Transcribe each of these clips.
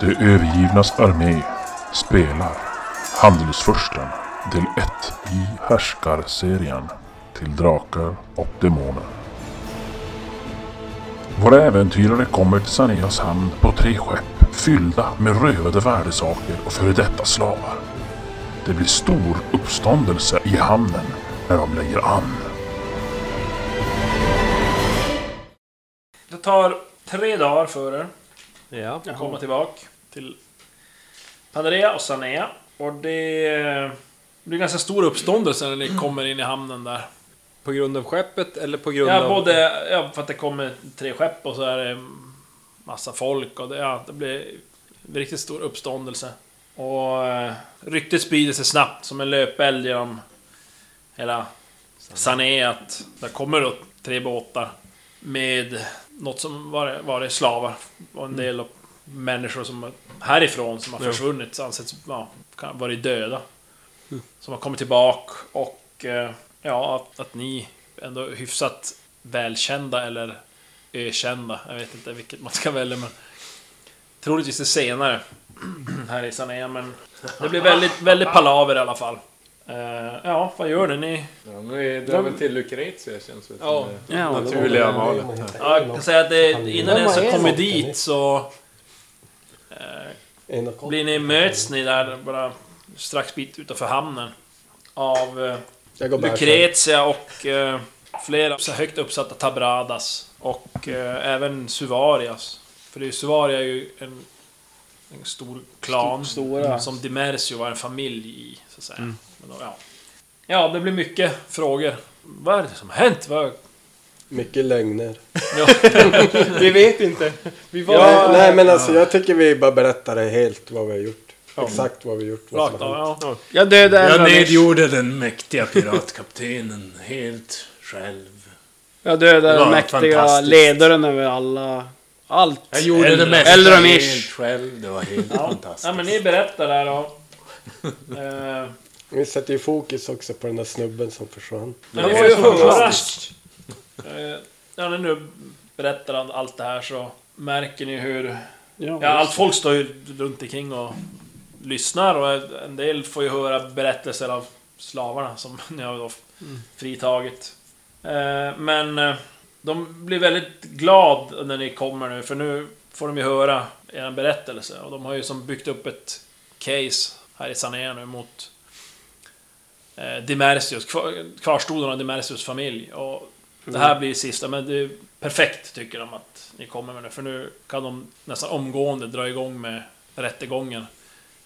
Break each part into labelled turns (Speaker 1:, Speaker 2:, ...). Speaker 1: De övergivnas armé spelar Handelsfursten del 1 i Härskarserien till Drakar och Demoner. Våra äventyrare kommer till Saneas hamn på tre skepp fyllda med rövade värdesaker och före detta slavar. Det blir stor uppståndelse i hamnen när de lägger an.
Speaker 2: Det tar tre dagar för er
Speaker 3: Ja.
Speaker 2: att komma tillbaka till Panarea och Sanea. Och det blir ganska stor uppståndelse när ni kommer in i hamnen där.
Speaker 3: På grund av skeppet eller på grund
Speaker 2: Ja,
Speaker 3: av...
Speaker 2: både ja, för att det kommer tre skepp och så är det massa folk och det, ja, det blir en riktigt stor uppståndelse. Och eh, ryktet sprider sig snabbt som en löpeld genom hela Sané att där kommer då tre båtar med något som var, var det slavar och
Speaker 3: Mm.
Speaker 2: en del människor som härifrån som har
Speaker 3: Jo.
Speaker 2: försvunnit ansetts ja, kan- varit döda. Som har kommit tillbaka och eh, ja, att, att ni ändå är hyfsat välkända eller ökända. Jag vet inte vilket man ska välja men troligtvis det senare här i Sané men det blir väldigt, väldigt palaver i alla fall. Eh, ja, vad gör ni? ni?
Speaker 4: Ja, men vi drar väl till Lucretia känns det
Speaker 2: Ja.
Speaker 4: som det
Speaker 2: Ja,
Speaker 4: naturliga valet. här.
Speaker 2: Ja, jag kan säga att det, innan
Speaker 5: Vem
Speaker 2: ens
Speaker 5: är
Speaker 2: har kommit
Speaker 5: det?
Speaker 2: dit så blir ni, möts ni där bara strax bit utanför hamnen av eh,
Speaker 5: Jag går bara
Speaker 2: Lucrezia och eh, flera så högt uppsatta Tabradas och eh, även Suvarias. För det är ju, Suvaria är ju en, en stor klan som Dimersio var en familj i, så att säga. Men då, ja. ja, det blir mycket frågor. Vad är det som har hänt? Vad...
Speaker 5: Mycket lögner.
Speaker 3: Vi vet inte. Vi var...
Speaker 5: Ja, nej men alltså jag tycker vi bara berättar det helt vad vi har gjort. Exakt vad vi har gjort. Vad
Speaker 2: Rakt
Speaker 5: som har
Speaker 2: av,
Speaker 5: hänt.
Speaker 2: ja.
Speaker 3: Jag dödade
Speaker 6: Jag
Speaker 3: en människa.
Speaker 6: nedgjorde den mäktiga piratkaptenen helt själv.
Speaker 3: Jag dödade
Speaker 6: Det
Speaker 3: den
Speaker 6: var
Speaker 3: mäktiga
Speaker 6: fantastiskt.
Speaker 3: ledaren över alla... Allt.
Speaker 6: Jag gjorde
Speaker 3: Eller-
Speaker 6: det mesta
Speaker 3: Eller
Speaker 6: helt
Speaker 3: Ramish.
Speaker 6: själv. Det var helt
Speaker 2: Ja.
Speaker 6: fantastiskt.
Speaker 2: Ja, men ni berättar där då. Eh,
Speaker 5: Vi sätter ju fokus också på den där snubben som försvann.
Speaker 2: Men det var ju fantastiskt. Ja, när nu berättar han allt det här så märker ni hur... Ja, allt folk står ju runt omkring och lyssnar och en del får ju höra berättelser av slavarna som ni har då fritagit. Eh, Men eh, de blir väldigt glad när ni kommer nu för nu får de ju höra er berättelse och de har ju som byggt upp ett case här i Sané nu mot eh, Dimersius, kvar, kvarstoden av Dimersius familj. Och det här blir sista, men det är perfekt tycker de att ni kommer med det. För nu kan de nästan omgående dra igång med rättegången.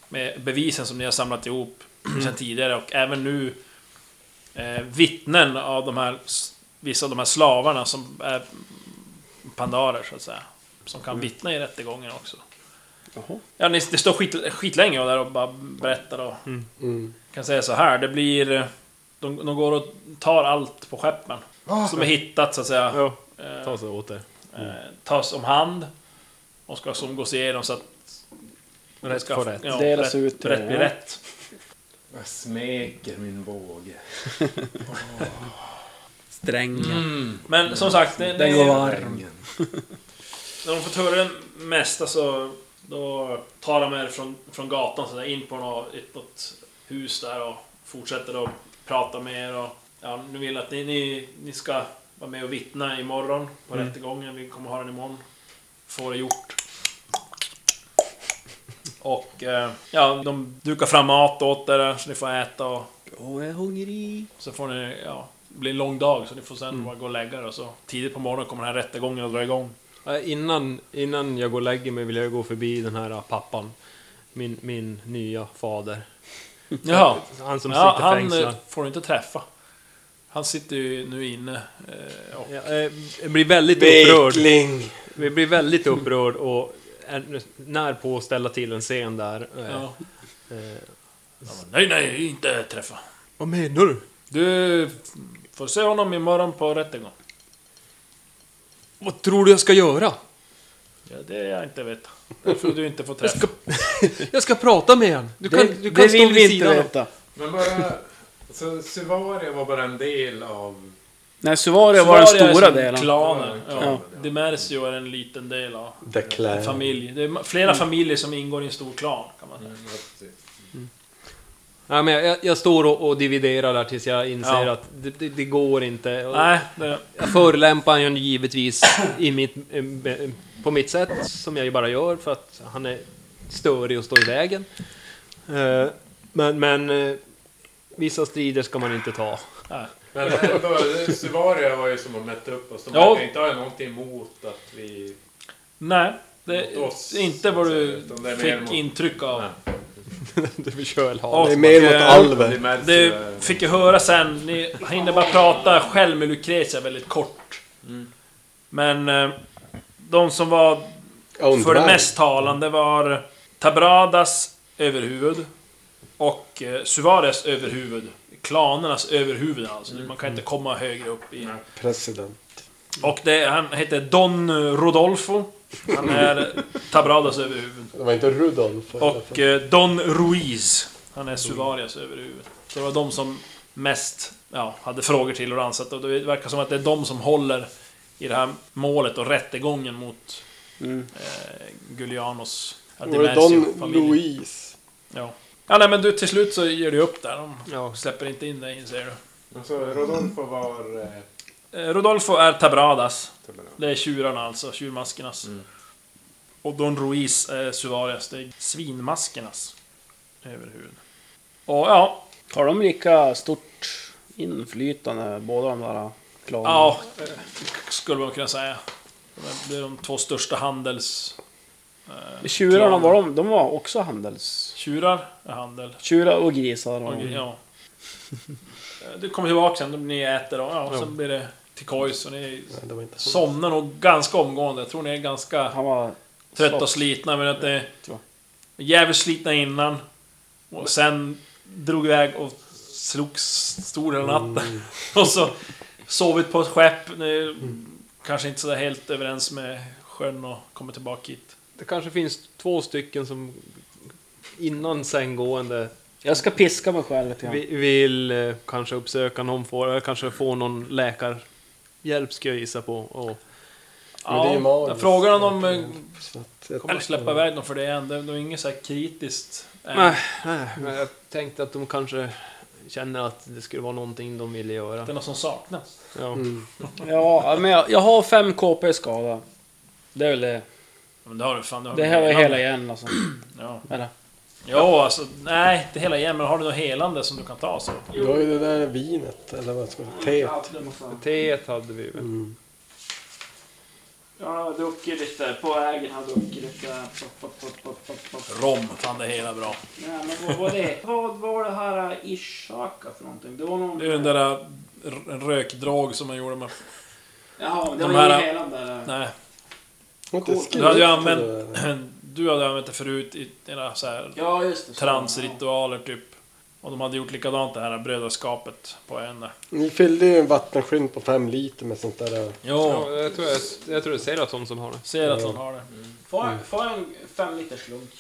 Speaker 2: Med bevisen som ni har samlat ihop sedan tidigare och även nu eh, vittnen av de här, s- vissa av de här slavarna som är pandarer så att säga. Som kan vittna i rättegången också. Ja, ni, det står skit, skitlänge och där och bara berättar och kan säga så här, det blir... eh, De, de går och tar allt på skeppen. Som är hittat så att säga.
Speaker 3: Ja,
Speaker 2: Eh,
Speaker 3: ta sig åt det.
Speaker 2: eh, tas om hand. Och ska som gås igenom så att... Rätt ska,
Speaker 3: för rätt.
Speaker 2: Ja,
Speaker 3: Delas
Speaker 2: rätt,
Speaker 3: ut,
Speaker 2: Rätt blir
Speaker 3: ja.
Speaker 2: rätt.
Speaker 6: Jag smeker min båge.
Speaker 3: Strängen.
Speaker 6: Mm.
Speaker 2: Men som sagt, det, det,
Speaker 3: Den går varm.
Speaker 6: Ingen.
Speaker 2: när de får höra det mesta så... Då tar de er från, från gatan så där, in på något, ett, något hus där och fortsätter att prata med er. Och, ja, nu vill att ni, ni, ni ska vara med och vittna imorgon på
Speaker 3: Mm.
Speaker 2: rättegången. Vi kommer ha den imorgon. Får det gjort. Och eh, ja, de dukar fram mat åt er så ni får äta och...
Speaker 3: Åh, jag är hungrig. Mm.
Speaker 2: Så får ni, ja, det blir en lång dag så ni får sen bara gå och lägga er och så tidigt på morgonen kommer den här rättegången att dra igång.
Speaker 3: Ja, Innan, innan jag går och lägger mig vill jag gå förbi den här ah, pappan. Min, min nya fader.
Speaker 2: Jaha,
Speaker 3: Han som
Speaker 2: ja,
Speaker 3: sitter
Speaker 2: han
Speaker 3: fängslad.
Speaker 2: eh, får du inte träffa. Han sitter ju nu inne eh, och...
Speaker 3: Ja, eh, jag blir väldigt upprörd.
Speaker 5: Bekling!
Speaker 3: Vi blir väldigt upprörd och är när på att ställa till en scen där. Eh,
Speaker 2: Ja.
Speaker 3: eh,
Speaker 2: men Nej, nej, inte träffa.
Speaker 3: Vad menar du?
Speaker 2: Du får se honom imorgon på rättegång.
Speaker 3: Vad tror du jag ska göra?
Speaker 2: Ja, det är jag inte vet. Därför du inte får träffa.
Speaker 3: Jag ska prata med honom. Du kan,
Speaker 4: Det-
Speaker 3: du kan stå vid sidan. av.
Speaker 4: Men bara... Så Suvaria var bara en del av
Speaker 7: Nej, Suvaria var den
Speaker 2: Svaria är
Speaker 7: stora
Speaker 2: som
Speaker 7: delen.
Speaker 2: Klaner.
Speaker 7: Ja.
Speaker 2: Ja. Demersio är en liten del av
Speaker 5: The Clan.
Speaker 7: Eh.
Speaker 2: en familj. Det är ma- flera
Speaker 7: Mm.
Speaker 2: familjer som ingår i en stor klan, kan man säga.
Speaker 3: Nej, men jag, jag står och, och dividerar där tills jag inser
Speaker 2: Ja.
Speaker 3: att det, det, det går inte. Och
Speaker 2: Nej, det...
Speaker 3: Jag förolämpar honom givetvis i mitt, eh, på mitt sätt, som jag ju bara gör för att han är störig och står i vägen. Eh, Men, men eh, vissa strider ska man inte ta.
Speaker 4: Men då- Suvaria var ju som att mätta upp oss. De
Speaker 2: Ja.
Speaker 4: verkar inte ha någonting emot att vi...
Speaker 2: Nej, det
Speaker 4: Mot oss,
Speaker 2: är inte vad du
Speaker 4: utan det är mer
Speaker 2: fick
Speaker 4: mot-
Speaker 2: intryck av.
Speaker 3: Du vill köra eller ha.
Speaker 2: Och,
Speaker 5: Det är mer mot
Speaker 2: eh,
Speaker 5: alver.
Speaker 2: Det
Speaker 4: eh,
Speaker 2: fick jag höra sen. Ni hinner bara prata själv med Lucrezia väldigt kort. Men eh, de som var
Speaker 5: Own
Speaker 2: för det
Speaker 5: Drive.
Speaker 2: mest talande var Tabradas överhuvud och eh, Suvares överhuvud. Klanernas överhuvud alltså. Man kan inte komma högre upp i...
Speaker 5: President.
Speaker 2: Och det, han heter Don Rodolfo. Han är Tabradas överhuvud.
Speaker 5: Det var inte Rudolf.
Speaker 2: Och eh, Don Ruiz. Han är Suvarias överhuvud. Så det var de som mest ja, hade frågor till och ansett. Och det verkar som att det är de som håller i det här målet och rättegången mot eh, Gulianos ja,
Speaker 5: Mm. Var det Don
Speaker 2: Dimersio-familjen.
Speaker 5: Louise?
Speaker 2: Ja. ja, nej men du till slut så ger du upp där. De släpper inte in dig inser du.
Speaker 4: Alltså, Rodolfo var... eh,
Speaker 2: Eh, Rodolfo är Tabradas.
Speaker 4: Tabradas.
Speaker 2: Det är tjurarna alltså, tjurmaskernas. Och Don Ruiz är Suvarias, det är svinmaskernas överhuvud. Och ja,
Speaker 7: Har de lika stort inflytande, båda de där klanerna?
Speaker 2: Ja, eh, skulle man kunna säga. De- Det är de två största handels...
Speaker 7: Tjurarna
Speaker 2: klanen.
Speaker 7: var de, de var också handels...
Speaker 2: Tjurar är handel.
Speaker 7: Tjurar och grisar. Och,
Speaker 2: Och, ja. Eh, Du kommer tillbaka sen, de- ni äter och ja, sen blir det till kojs och ni
Speaker 5: Nej, det var inte han.
Speaker 2: somnar nog ganska omgående. Jag tror ni är ganska
Speaker 7: Han var...
Speaker 2: trötta och slitna men att det...
Speaker 7: tror
Speaker 2: Jävligt slitna innan. Och sen drog iväg och slogs stor hela natten.
Speaker 5: Mm.
Speaker 2: och så sovit på ett skepp. Nu,
Speaker 5: Mm.
Speaker 2: Kanske inte sådär helt överens med sjön och kommer tillbaka hit.
Speaker 3: Det kanske finns två stycken som innan sänggående
Speaker 7: Jag ska piska mig själv lite grann.
Speaker 3: vi- vill eh, kanske uppsöka någon, får, eller kanske få någon läkarhjälp ska jag gissa på. Och,
Speaker 5: Men det är ju
Speaker 2: Ja,
Speaker 5: Marius.
Speaker 2: jag frågar om de eh,
Speaker 5: Så att jag-
Speaker 2: kommer att släppa iväg dem för det än. Det det är inget så här kritiskt. än.
Speaker 3: Nej, nej,
Speaker 7: Mm.
Speaker 3: men jag tänkte att de kanske känner att det skulle vara någonting de ville göra.
Speaker 2: Det är något som saknas.
Speaker 3: Ja.
Speaker 7: Mm. Ja, men jag, jag har 5 KP i skada. Det är väl det.
Speaker 2: Men det har du fan. Det, har
Speaker 7: Det
Speaker 2: du
Speaker 7: här var ju
Speaker 2: redan.
Speaker 7: hela igen alltså.
Speaker 2: Ja.
Speaker 7: Eller?
Speaker 2: Jo, alltså. Nej, det hela igen. Men har du något helande som du kan ta så?
Speaker 5: Det var ju det där vinet, eller vad ska man säga, teet.
Speaker 3: Teet hade vi väl.
Speaker 7: Mm. Jag har druckit lite, på vägen har jag druckit lite.
Speaker 2: Rom, fan det är hela bra.
Speaker 7: Nej, men vad var det? Vad var det här äh, Ishaka för någonting? Det var någon...
Speaker 2: Det är ju den där eh, r- rökdrag som man gjorde med...
Speaker 7: Jaha,
Speaker 2: de här-
Speaker 7: helande eller?
Speaker 2: Nej.
Speaker 5: Har inte
Speaker 7: Cool.
Speaker 5: skrivit
Speaker 2: Du hade ju
Speaker 5: det
Speaker 2: använt...
Speaker 5: där?
Speaker 2: Du hade använt det förut i dina så här
Speaker 7: Ja, just det. så.
Speaker 2: transritualer typ. Och de hade gjort likadant det här brödraskapet på en där.
Speaker 5: Ni fyllde ju en vattenskyn på fem liter med sånt där.
Speaker 2: Jo,
Speaker 3: Ja, jag, tror jag, jag tror det är Seraton som har det.
Speaker 2: ser att de har det.
Speaker 7: Får får jag en fem liters lunk?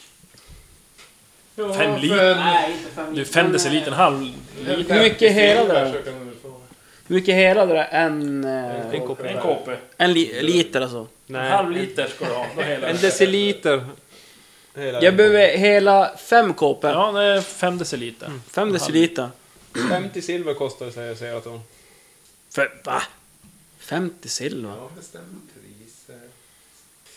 Speaker 2: Fem liter?
Speaker 7: Nej, inte fem
Speaker 2: Du, fem deciliter, en halv liter.
Speaker 7: Hur mycket hela det är?
Speaker 4: så kan du få.
Speaker 7: Hur mycket hela det är? En... eh,
Speaker 3: En kopp.
Speaker 2: En kp.
Speaker 7: En li- liter alltså?
Speaker 2: En
Speaker 3: Nej,
Speaker 2: halv liter ska du ha. Då hela.
Speaker 3: en deciliter.
Speaker 7: Jag behöver hela fem kp.
Speaker 2: Ja, det är fem deciliter.
Speaker 3: Mm.
Speaker 7: Fem deciliter.
Speaker 3: 50 silver kostar det säger Seraton.
Speaker 7: För, va? 50 silver?
Speaker 4: Ja, bestäm priser.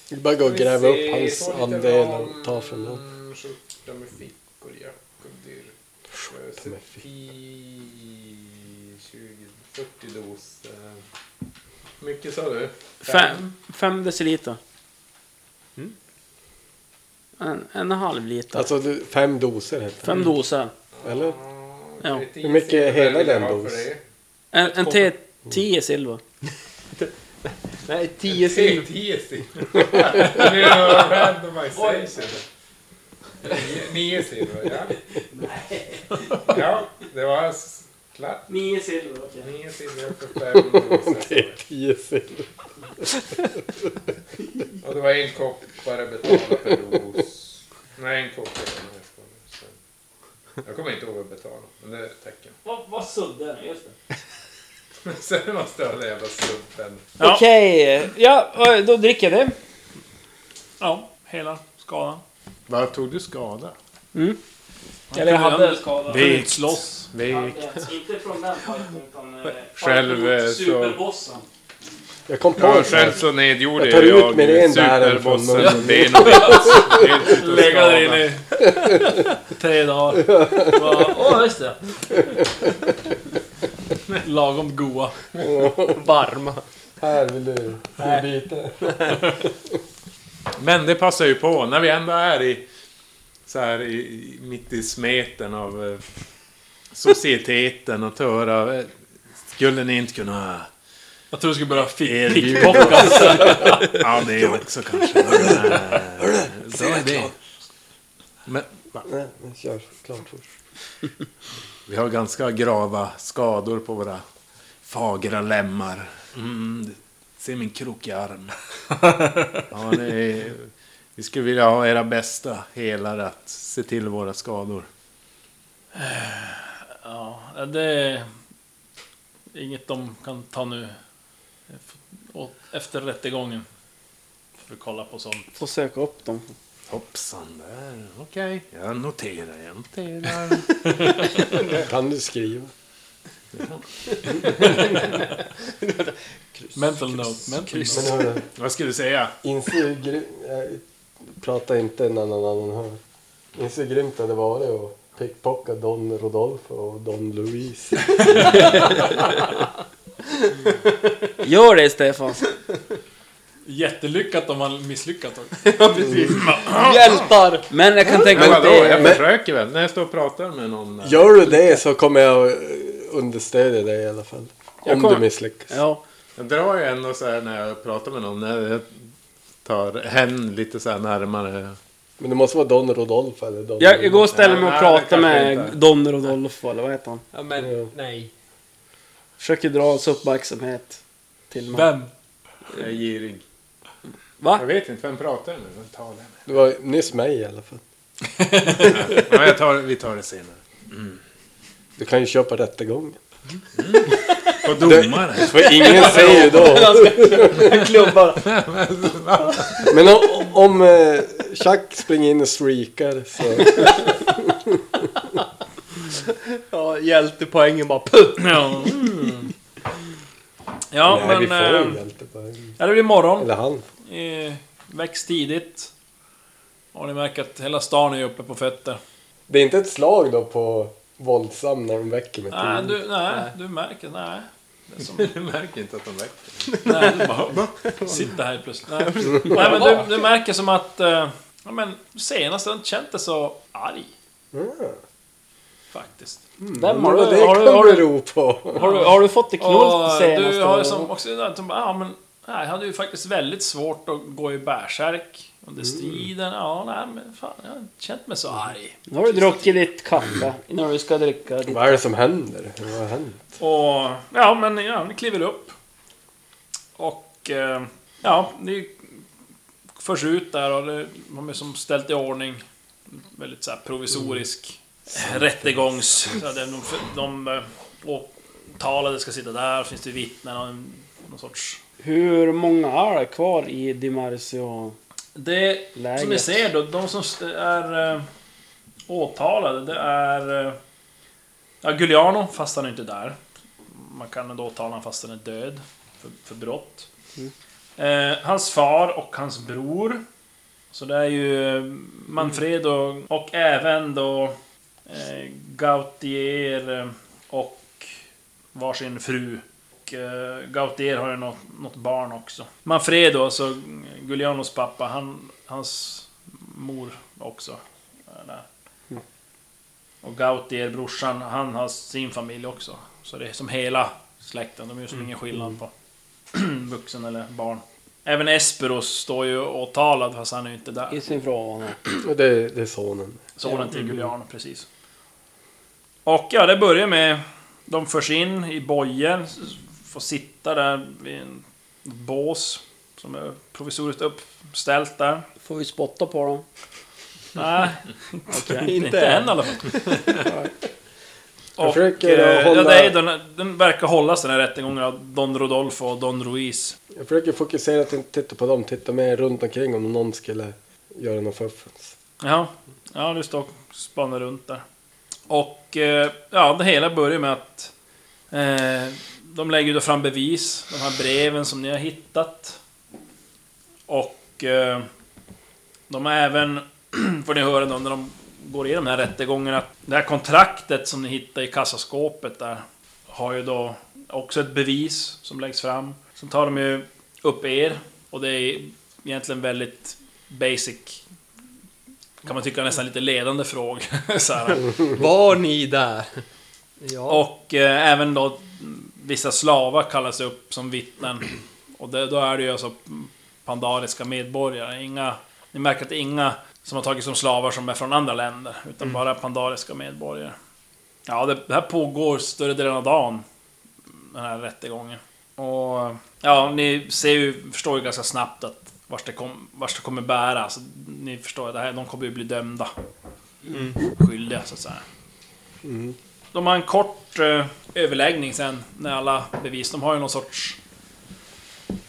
Speaker 5: Det är bara att gå och
Speaker 4: Vi
Speaker 5: gräva upp
Speaker 4: ser,
Speaker 5: hans
Speaker 4: får lite
Speaker 5: andel
Speaker 4: ram,
Speaker 5: och ta från honom.
Speaker 4: Mm, Skjorta med fickor, eh, jack och dyrk. Skjorta
Speaker 5: med
Speaker 4: 20, 40 dos. eh. Hur mycket sa du?
Speaker 7: Fem, fem deciliter. En, en och en halv liter.
Speaker 5: Alltså du- fem doser heter
Speaker 7: Fem doser.
Speaker 5: det. Eller?
Speaker 7: Ja.
Speaker 4: Lite
Speaker 5: Hur mycket är hela
Speaker 4: väldigt
Speaker 5: den
Speaker 4: bra för
Speaker 5: dos?
Speaker 4: dig.
Speaker 7: En, en te 10 silver.
Speaker 3: Nej, 10
Speaker 4: Tio
Speaker 3: silver.
Speaker 4: tio silver. Nu randomization. Nio- Nio silver, ja. Ja, det var s- klart.
Speaker 7: 9 silver, okej.
Speaker 4: Nio silver för fem doser.
Speaker 5: Tio silver.
Speaker 4: Och det var en kopp bara betala per dos. Nej, en kopp. är det nog jag ska ha. Sen- Jag kommer inte ihåg vad jag betalade, men det är ett tecken.
Speaker 7: Vad sudde den? Just det.
Speaker 4: Sen måste jag ha den jävla sumpen.
Speaker 2: Ja.
Speaker 3: Okej, ja, eh, då dricker jag det.
Speaker 2: Ja, hela skadan.
Speaker 6: Vad tog du skada?
Speaker 2: Eller jag hade
Speaker 6: Vikt.
Speaker 2: slåss.
Speaker 6: Vek.
Speaker 7: Inte från den fighten utan...
Speaker 4: Själv, mot eh, så-
Speaker 7: Superbossen.
Speaker 5: Jag kom på
Speaker 4: Ja,
Speaker 5: en
Speaker 4: själv
Speaker 5: sak.
Speaker 4: så nedgjorde
Speaker 5: Jag tar ut
Speaker 4: jag,
Speaker 5: med en där från
Speaker 4: superbossen
Speaker 5: munnen.
Speaker 4: Deno. Helt utan
Speaker 2: Lägga
Speaker 4: skada.
Speaker 2: där inne i tre dagar. Bara, Åh, just det. Lagom goa.
Speaker 3: Varma.
Speaker 5: Här vill du. Här biten.
Speaker 4: Men det passar ju på när vi ändå är i så här i, i- mitt i smeten av eh, societeten att höra. eh, Skulle ni inte kunna...
Speaker 2: Jag tror du skulle börja fi-
Speaker 4: Erbjuda.
Speaker 2: pickpockas.
Speaker 4: Ja, det också kanske. Men, eh, Så är det. Men va?
Speaker 5: Nej, men kör klart först.
Speaker 4: vi har ganska grava skador på våra fagra lemmar. Mm, se min krokiga arm. Ja, det är, vi skulle vilja ha era bästa helare att se till våra skador.
Speaker 2: Ja, det är inget de kan ta nu. Och Efter rättegången. Får vi kolla på sånt.
Speaker 7: Får söka upp dem.
Speaker 4: Hoppsan där, okej. Jag noterar, jag noterar.
Speaker 5: Kan du skriva?
Speaker 2: Mental note. Mental note.
Speaker 5: Men hörru,
Speaker 4: Vad skulle du säga?
Speaker 5: inse hur grym... Jag pratar inte en annan annan hör. Inse hur grymt det hade varit att pickpocka Don Rodolfo och Don Luis.
Speaker 7: Gör det Stefan.
Speaker 2: Jättelyckat om man misslyckat också.
Speaker 7: Hjältar! Men jag kan tänka
Speaker 4: Men
Speaker 7: mig att
Speaker 4: vadå,
Speaker 7: det
Speaker 4: jag
Speaker 7: är...
Speaker 4: försöker väl. När jag står och pratar med någon. där.
Speaker 5: Gör du det så kommer jag eh, understödja dig i alla fall.
Speaker 4: Jag
Speaker 5: Om
Speaker 4: kommer-
Speaker 5: du misslyckas.
Speaker 7: Ja.
Speaker 4: Jag drar ju ändå så här när jag pratar med någon. När jag tar hen lite så här närmare.
Speaker 5: Men det måste vara Don Rodolfo eller Don
Speaker 7: Jag, jag går och ställer mig
Speaker 4: Nej,
Speaker 7: och
Speaker 4: det
Speaker 7: pratar
Speaker 4: kanske
Speaker 7: med
Speaker 4: inte.
Speaker 7: Donner och Dolfo eller vad heter han?
Speaker 3: Ja, men nej.
Speaker 7: Försöker dra hans uppmärksamhet till mig.
Speaker 2: Vem?
Speaker 4: Jag är girig.
Speaker 7: Va?
Speaker 4: Jag vet inte, vem pratar jag med? Vem talar jag med?
Speaker 5: Det var nyss mig i alla fall.
Speaker 4: Ja, jag tar, vi tar det senare.
Speaker 5: Du kan ju köpa rättegången.
Speaker 4: Och domare.
Speaker 5: För ingen säger ju då.
Speaker 7: Klubbar.
Speaker 5: Men om, om eh, Chuck springer in och streakar så...
Speaker 3: Ja, hjältepoängen bara puh.
Speaker 2: Ja, mm. ja
Speaker 5: Nej, vi
Speaker 2: men...
Speaker 5: får
Speaker 2: eh,
Speaker 5: ju hjältepoäng.
Speaker 2: Ja, det blir imorgon.
Speaker 5: Eller han.
Speaker 2: Eh, Väcks tidigt. Och ni märker att hela stan är uppe på fötter.
Speaker 5: Det är inte ett slag då på våldsam när de väcker med
Speaker 2: Nej,
Speaker 5: tiden.
Speaker 2: du, nej, du märker, nej. Det är som,
Speaker 4: Du märker inte att de väcker.
Speaker 2: nej, du bara, sitta här plötsligt. Nej, nej men du, du märker som att, eh, ja men senast har jag inte känt dig så arg. Faktiskt.
Speaker 7: Vem har
Speaker 5: Undrar
Speaker 7: du,
Speaker 5: vad det
Speaker 7: har, du,
Speaker 5: kan
Speaker 7: har, du,
Speaker 5: bero på.
Speaker 7: har, du, har du fått det
Speaker 2: Och
Speaker 7: knullt senast?
Speaker 2: du har
Speaker 7: eller?
Speaker 2: ju som också, att de bara, ja men, nej, jag hade ju faktiskt väldigt svårt att gå i bärsärk
Speaker 7: Mm.
Speaker 2: under striden. Ja, nej men fan, jag har inte känt mig så arg.
Speaker 7: Nu har du druckit ditt kaffe innan du ska dricka ditt...
Speaker 5: Vad är det som händer? Vad har hänt?
Speaker 2: Och ja, men ja, ni kliver upp. Och eh, ja, ni förs ut där och det, de är som ställt i ordning. Väldigt så här provisorisk rättegångs... Så de de, de eh, åtalade ska sitta där, finns det vittnen och en, någon sorts...
Speaker 7: Hur många är kvar i Dimarsio?
Speaker 2: Det som ni
Speaker 7: Läget.
Speaker 2: ser då, de som st- är eh, åtalade, det är... Eh, ja, Giuliano, fast han är inte där. Man kan ändå åtala honom fast han är död för, för brott. Eh, hans far och hans bror. Så det är ju eh, Manfredo och även då eh, Gautier eh, och varsin fru. Och eh, Gautier har ju något, något barn också. Manfredo, alltså Giulianos pappa, han, hans mor också. är Där. Och Gautier, brorsan, han har sin familj också. Så det är som hela släkten, de är ju som ingen skillnad på vuxen eller barn. Även Esperos står ju åtalad fast han är ju inte där.
Speaker 7: I sin fråga.
Speaker 5: Och Det, det är sonen.
Speaker 2: Sonen till Giuliano, precis. Och ja, det börjar med... De förs in i bojen, får sitta där vid en bås som är provisoriskt uppställt där.
Speaker 7: Får vi spotta på dem?
Speaker 2: Nej, inte än i alla fall. Och,
Speaker 5: försöker
Speaker 2: eh,
Speaker 5: hålla-
Speaker 2: ja, nej, den, den verkar hållas den här rättegången av Don Rodolfo och Don Ruiz.
Speaker 5: Jag försöker fokusera att inte titta på dem, titta mer runt omkring om någon skulle göra något fuffens.
Speaker 2: Ja, ja du står och spanar runt där. Och eh, ja, det hela börjar med att eh, de lägger ju då fram bevis, de här breven som ni har hittat. Och eh, de har även, får ni höra då när de går igenom den här rättegången, att det här kontraktet som ni hittar i kassaskåpet där har ju då också ett bevis som läggs fram. Sen tar de ju upp er och det är egentligen väldigt basic kan man tycka nästan lite ledande fråga. så här.
Speaker 3: Var ni där? Ja.
Speaker 2: Och eh, även då mm, vissa slavar kallas upp som vittnen. Och det, då är det ju alltså pandariska medborgare. Inga, ni märker att det är inga som har tagits som slavar som är från andra länder. Utan bara pandariska medborgare. Ja, det, det här pågår större delen av dagen. Den här rättegången. Och ja, ni ser ju, förstår ju ganska snabbt att vars det, kom, vars det kommer bära. Alltså, ni förstår ju, det här, de kommer ju bli dömda. Skyldiga, så att säga. De har en kort eh, överläggning sen när alla bevis. De har ju någon sorts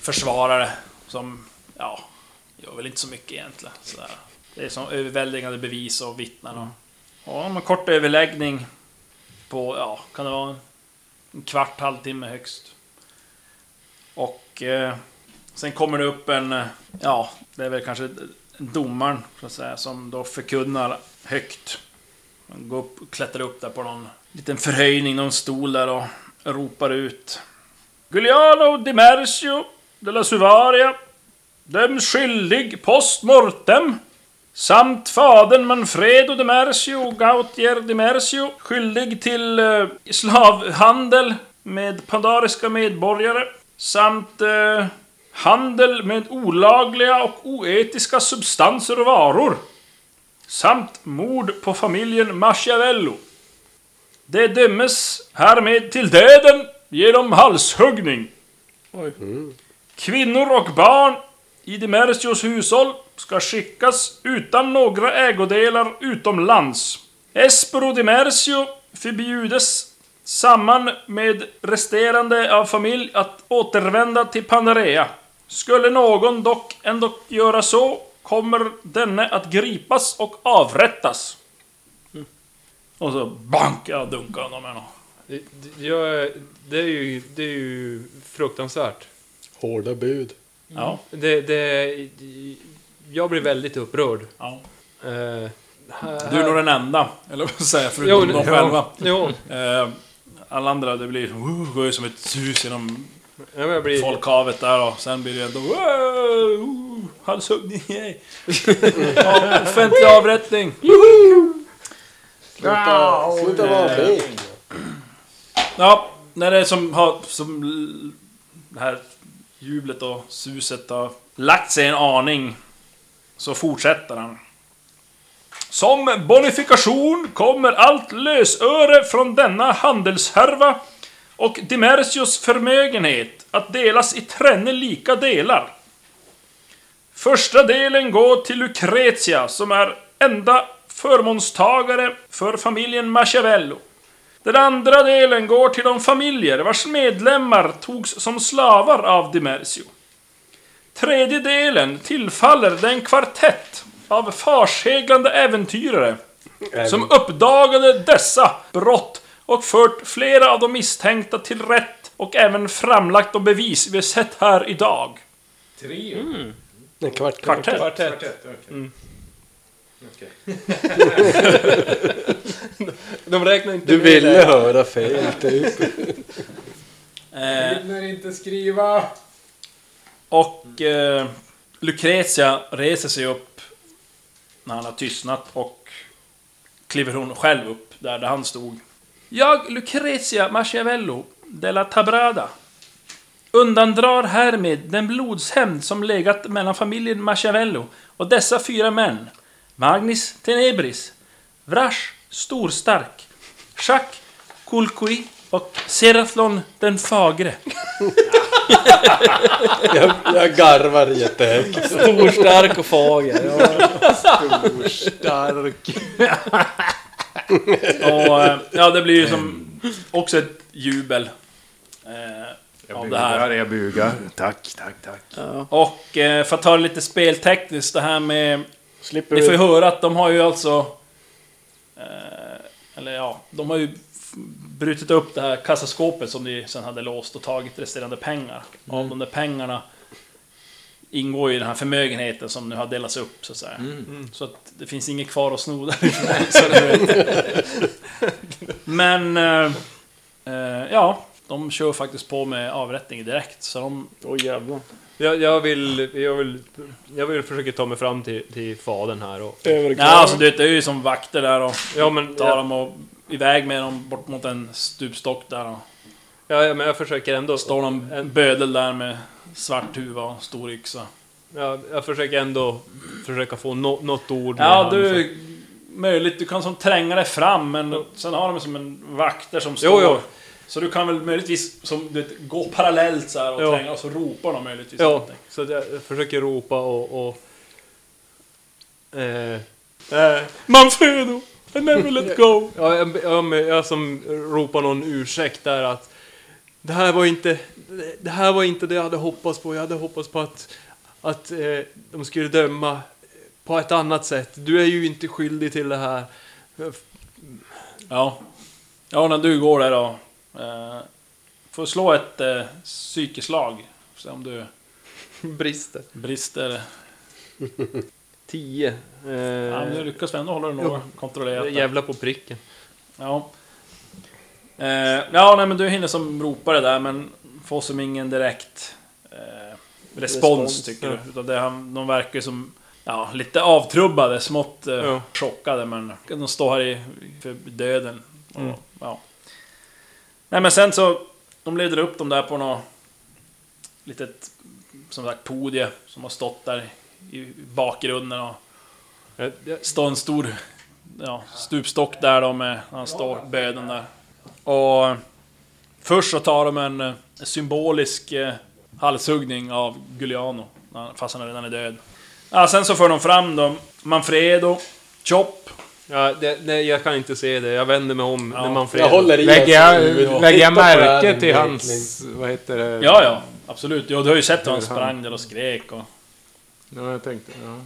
Speaker 2: försvarare som, ja, gör väl inte så mycket egentligen. Sådär. Det är som överväldigande bevis och vittnen. Och, ja, de har en kort överläggning på, ja, kan det vara en, en kvart, halvtimme högst. Och eh, sen kommer det upp en, eh, ja, det är väl kanske domaren, så att säga, som då förkunnar högt. Han går upp, klättrar upp där på någon liten förhöjning, någon stol där och ropar ut. Giuliano Di Mercio della Suvaria döms skyldig post mortem samt fadern Manfredo Di Mercio Gautier Di Mercio skyldig till eh, slavhandel med pandariska medborgare samt eh, handel med olagliga och oetiska substanser och varor samt mord på familjen Machiavello. Det dömes härmed till döden genom halshuggning. Kvinnor och barn i Di Mercios hushåll ska skickas utan några ägodelar utomlands. Espero Di Mercio förbjudes samman med resterande av familj att återvända till Panarea. Skulle någon dock ändå göra så kommer denne att gripas och avrättas. Mm. Och så bank, jag dunkar honom med något.
Speaker 3: Det, det- jag, det, är ju, det är ju fruktansvärt.
Speaker 5: Hårda bud.
Speaker 2: Ja,
Speaker 3: Det, det, jag blir väldigt upprörd.
Speaker 2: ja.
Speaker 3: Eh, här-
Speaker 2: Du är nog den enda, eller vad säger jag,
Speaker 3: Jo,
Speaker 2: förutom de
Speaker 3: jo,
Speaker 2: själva.
Speaker 3: Jo,
Speaker 2: Eh, alla andra, det blir... Uh, går ju som ett sus genom
Speaker 3: ja, men jag blir...
Speaker 2: folkhavet där och sen blir det ändå... Uh, uh, halshuggning, yay! Ja, Offentlig avrättning!
Speaker 5: Sluta, sluta vara feg.
Speaker 2: Ja, när det är som har... Som l- det här jublet och suset har lagt sig en aning så fortsätter han. Som bonifikation kommer allt lösöre från denna handelshärva och Dimercios förmögenhet att delas i trenne lika delar. Första delen går till Lucretia som är enda förmånstagare för familjen Machiavello. Den andra delen går till de familjer vars medlemmar togs som slavar av Dimercio. Tredje delen tillfaller den kvartett av farseglande äventyrare som uppdagade dessa brott och fört flera av de misstänkta till rätt och även framlagt de bevis vi sett här idag.
Speaker 5: En kvart.
Speaker 2: Kvartett.
Speaker 3: De räknar inte
Speaker 5: Du
Speaker 3: med det.
Speaker 5: ville
Speaker 4: eh,
Speaker 5: höra fel typ.
Speaker 2: Eh,
Speaker 4: Hinner inte skriva.
Speaker 2: Och eh, Lucretia reser sig upp när han har tystnat och kliver hon själv upp där, där han stod. Jag, Lucretia Machiavello della Tabrada undandrar härmed den blodshämnd som legat mellan familjen Machiavello och dessa fyra män. Magnus Tenebris, Vrash Storstark, Jacques Kulkui och Seraflon den fagre.
Speaker 5: Jag, jag garvar jättehögt.
Speaker 7: Stor, stark och fager. Ja.
Speaker 4: Stark.
Speaker 2: Och, eh, ja, det blir ju som också ett jubel. eh, Av det här.
Speaker 4: Bugar, jag bugar. Tack, tack, tack.
Speaker 2: Och eh, för att ta det lite speltekniskt, det här med...
Speaker 7: Slipper
Speaker 2: Ni får ju
Speaker 7: vi...
Speaker 2: höra att de har ju alltså... Eh, eller ja, de har ju f- brutit upp det här kassaskåpet som de sen hade låst och tagit resterande pengar. Och Av de där pengarna ingår ju den här förmögenheten som nu har delats upp så att säga. Så att det finns inget kvar att sno därifrån. så det vet. Men... Eh, eh, ja, de kör faktiskt på med avrättning direkt. Så de...
Speaker 7: Åh jävlar.
Speaker 3: Jag, jag, vill, jag, vill, jag vill försöka ta mig fram till, till fadern här och...
Speaker 2: Ja, alltså du vet, det är ju som vakter där och...
Speaker 3: Ja, men...
Speaker 2: tar
Speaker 3: Ja,
Speaker 2: dem och iväg med dem bort mot en stupstock där och
Speaker 3: ja, men jag försöker ändå...
Speaker 2: står någon bödel där med svart huva och stor yxa.
Speaker 3: Ja, jag försöker ändå försöka få no, något ord med
Speaker 2: Ja,
Speaker 3: han, så-
Speaker 2: du... Möjligt, du kan som tränga dig fram men sen har de som en vakter som står.
Speaker 3: Jo, jo.
Speaker 2: Så du kan väl möjligtvis som, du vet, gå parallellt så här och
Speaker 3: Ja.
Speaker 2: tränga och så ropar de möjligtvis
Speaker 3: Ja,
Speaker 2: någonting.
Speaker 3: så att jag försöker ropa och... och eh, eh, Manfredo! I never let go! ja, jag, jag, jag som ropar någon ursäkt där att... Det här var inte det, här var inte det jag hade hoppats på. Jag hade hoppats på att, att eh, de skulle döma på ett annat sätt. Du är ju inte skyldig till det här.
Speaker 2: Ja. Ja, när du går där då. Eh, får slå ett eh, psykeslag. Se om du
Speaker 3: Brister.
Speaker 2: brister.
Speaker 3: 10. Eh,
Speaker 2: Ja, men du lyckas väl ändå hålla dig något kontrollerat. där.
Speaker 3: jävla på pricken.
Speaker 2: Ja. Eh, ja, nej men du hinner som ropa det där men får som ingen direkt eh, respons,
Speaker 7: Respons,
Speaker 2: tycker
Speaker 3: ja.
Speaker 2: du. Utan det, han- de verkar ju som ja, lite avtrubbade, smått eh,
Speaker 3: Ja.
Speaker 2: chockade men de står här i, för döden. Och,
Speaker 3: Mm.
Speaker 2: ja. Nej men sen så, de leder upp dem där på något litet, som sagt, podie som har stått där i bakgrunden och
Speaker 3: Jag, jag,
Speaker 2: står en stor ja, stupstock där då med, han står böden där. Och eh, först så tar de en eh, symbolisk eh, halshuggning av Giuliano, när han- fast han redan är död. Ja, sen så för de fram dem, Manfredo, Chop.
Speaker 3: ja, det, nej, jag kan inte se det. Jag vänder mig om när Manfredo...
Speaker 5: Jag håller i
Speaker 4: Lägger jag,
Speaker 5: hans huvud och
Speaker 4: lägger jag
Speaker 5: tittar på det här
Speaker 4: märke till
Speaker 5: verkligen.
Speaker 4: hans... Vad heter det?
Speaker 2: Ja, ja, absolut. Ja, du har ju sett hur han sprang där och skrek och...
Speaker 4: Ja, jag tänkte... Ja.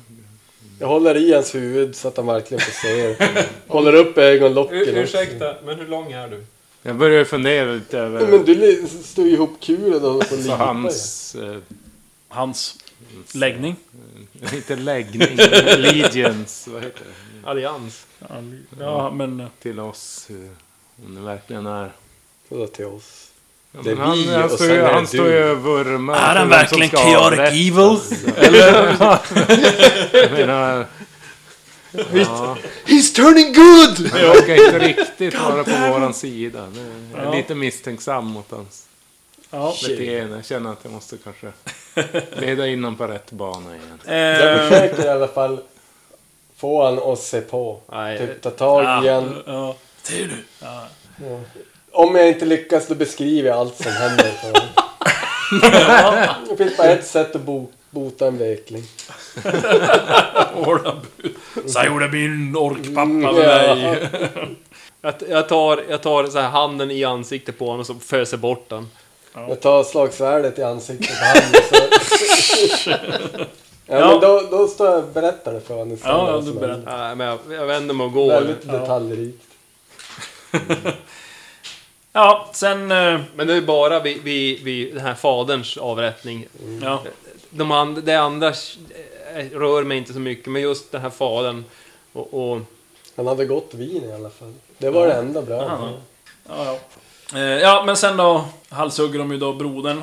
Speaker 5: Jag håller i hans huvud så att han verkligen får se. håller upp ögonlocken. också.
Speaker 3: Eh, men hur lång är du?
Speaker 4: Jag börjar fundera lite över...
Speaker 5: Men du li- står ju ihop kulen och håller
Speaker 4: Så
Speaker 5: på hans...
Speaker 4: hans... Eh,
Speaker 2: Hans läggning.
Speaker 4: inte läggning, allegiance, vad heter det?
Speaker 3: Allians.
Speaker 2: Ja, men... eh,
Speaker 4: Till oss. eh, Om det verkligen är...
Speaker 5: Vadå till oss?
Speaker 4: Ja,
Speaker 5: Det är
Speaker 4: men han,
Speaker 5: vi
Speaker 4: han
Speaker 5: och
Speaker 4: står
Speaker 5: sen
Speaker 4: ju,
Speaker 5: är det
Speaker 4: han
Speaker 5: du.
Speaker 4: står ju och vurmar
Speaker 2: Är
Speaker 4: för
Speaker 2: han
Speaker 4: vem som
Speaker 2: verkligen
Speaker 4: ska
Speaker 2: chaotic
Speaker 4: avrättas.
Speaker 2: evil?
Speaker 4: Eller? jag menar,
Speaker 7: He's turning good!
Speaker 4: han verkar inte riktigt vara på våran sida. Det- Jag är lite misstänksam mot hans
Speaker 2: Ja.
Speaker 4: beteende. Jag känner att jag måste kanske leda in honom på rätt bana igen.
Speaker 5: Jag
Speaker 2: Eh,
Speaker 5: försöker i alla fall få han att se på.
Speaker 3: Nej.
Speaker 5: Typ ta
Speaker 4: Ah.
Speaker 5: tag i han.
Speaker 2: ja, ja. Ser du?
Speaker 5: Om jag inte lyckas då beskriver jag allt som händer för honom. Det finns bara ett sätt att bo- bota en vekling.
Speaker 2: Orlabu. Så gjorde min orkpappa med
Speaker 5: Ja.
Speaker 2: mig.
Speaker 3: Jag, jag tar, jag tar så här handen i ansiktet på honom och så föser bort den.
Speaker 5: Jag tar slagsvärdet i ansiktet på handen. Så... Ja,
Speaker 2: Ja.
Speaker 5: Men då, då står jag och berättar det för honom istället.
Speaker 2: Ja, ja, du
Speaker 5: Så
Speaker 2: berättar.
Speaker 3: Nej, Äh, men jag, jag vänder mig och går.
Speaker 5: Väldigt detaljrikt.
Speaker 2: Ja, sen... eh,
Speaker 3: Men det är bara vid, vid, vid den här faderns avrättning.
Speaker 2: Ja,
Speaker 3: De and, det andra eh, rör mig inte så mycket, men just den här fadern och... och
Speaker 5: Han hade gott vin i alla fall. Det var det enda bra.
Speaker 2: Ja. ja, ja. Eh, ja men sen då halshugger de ju då brodern.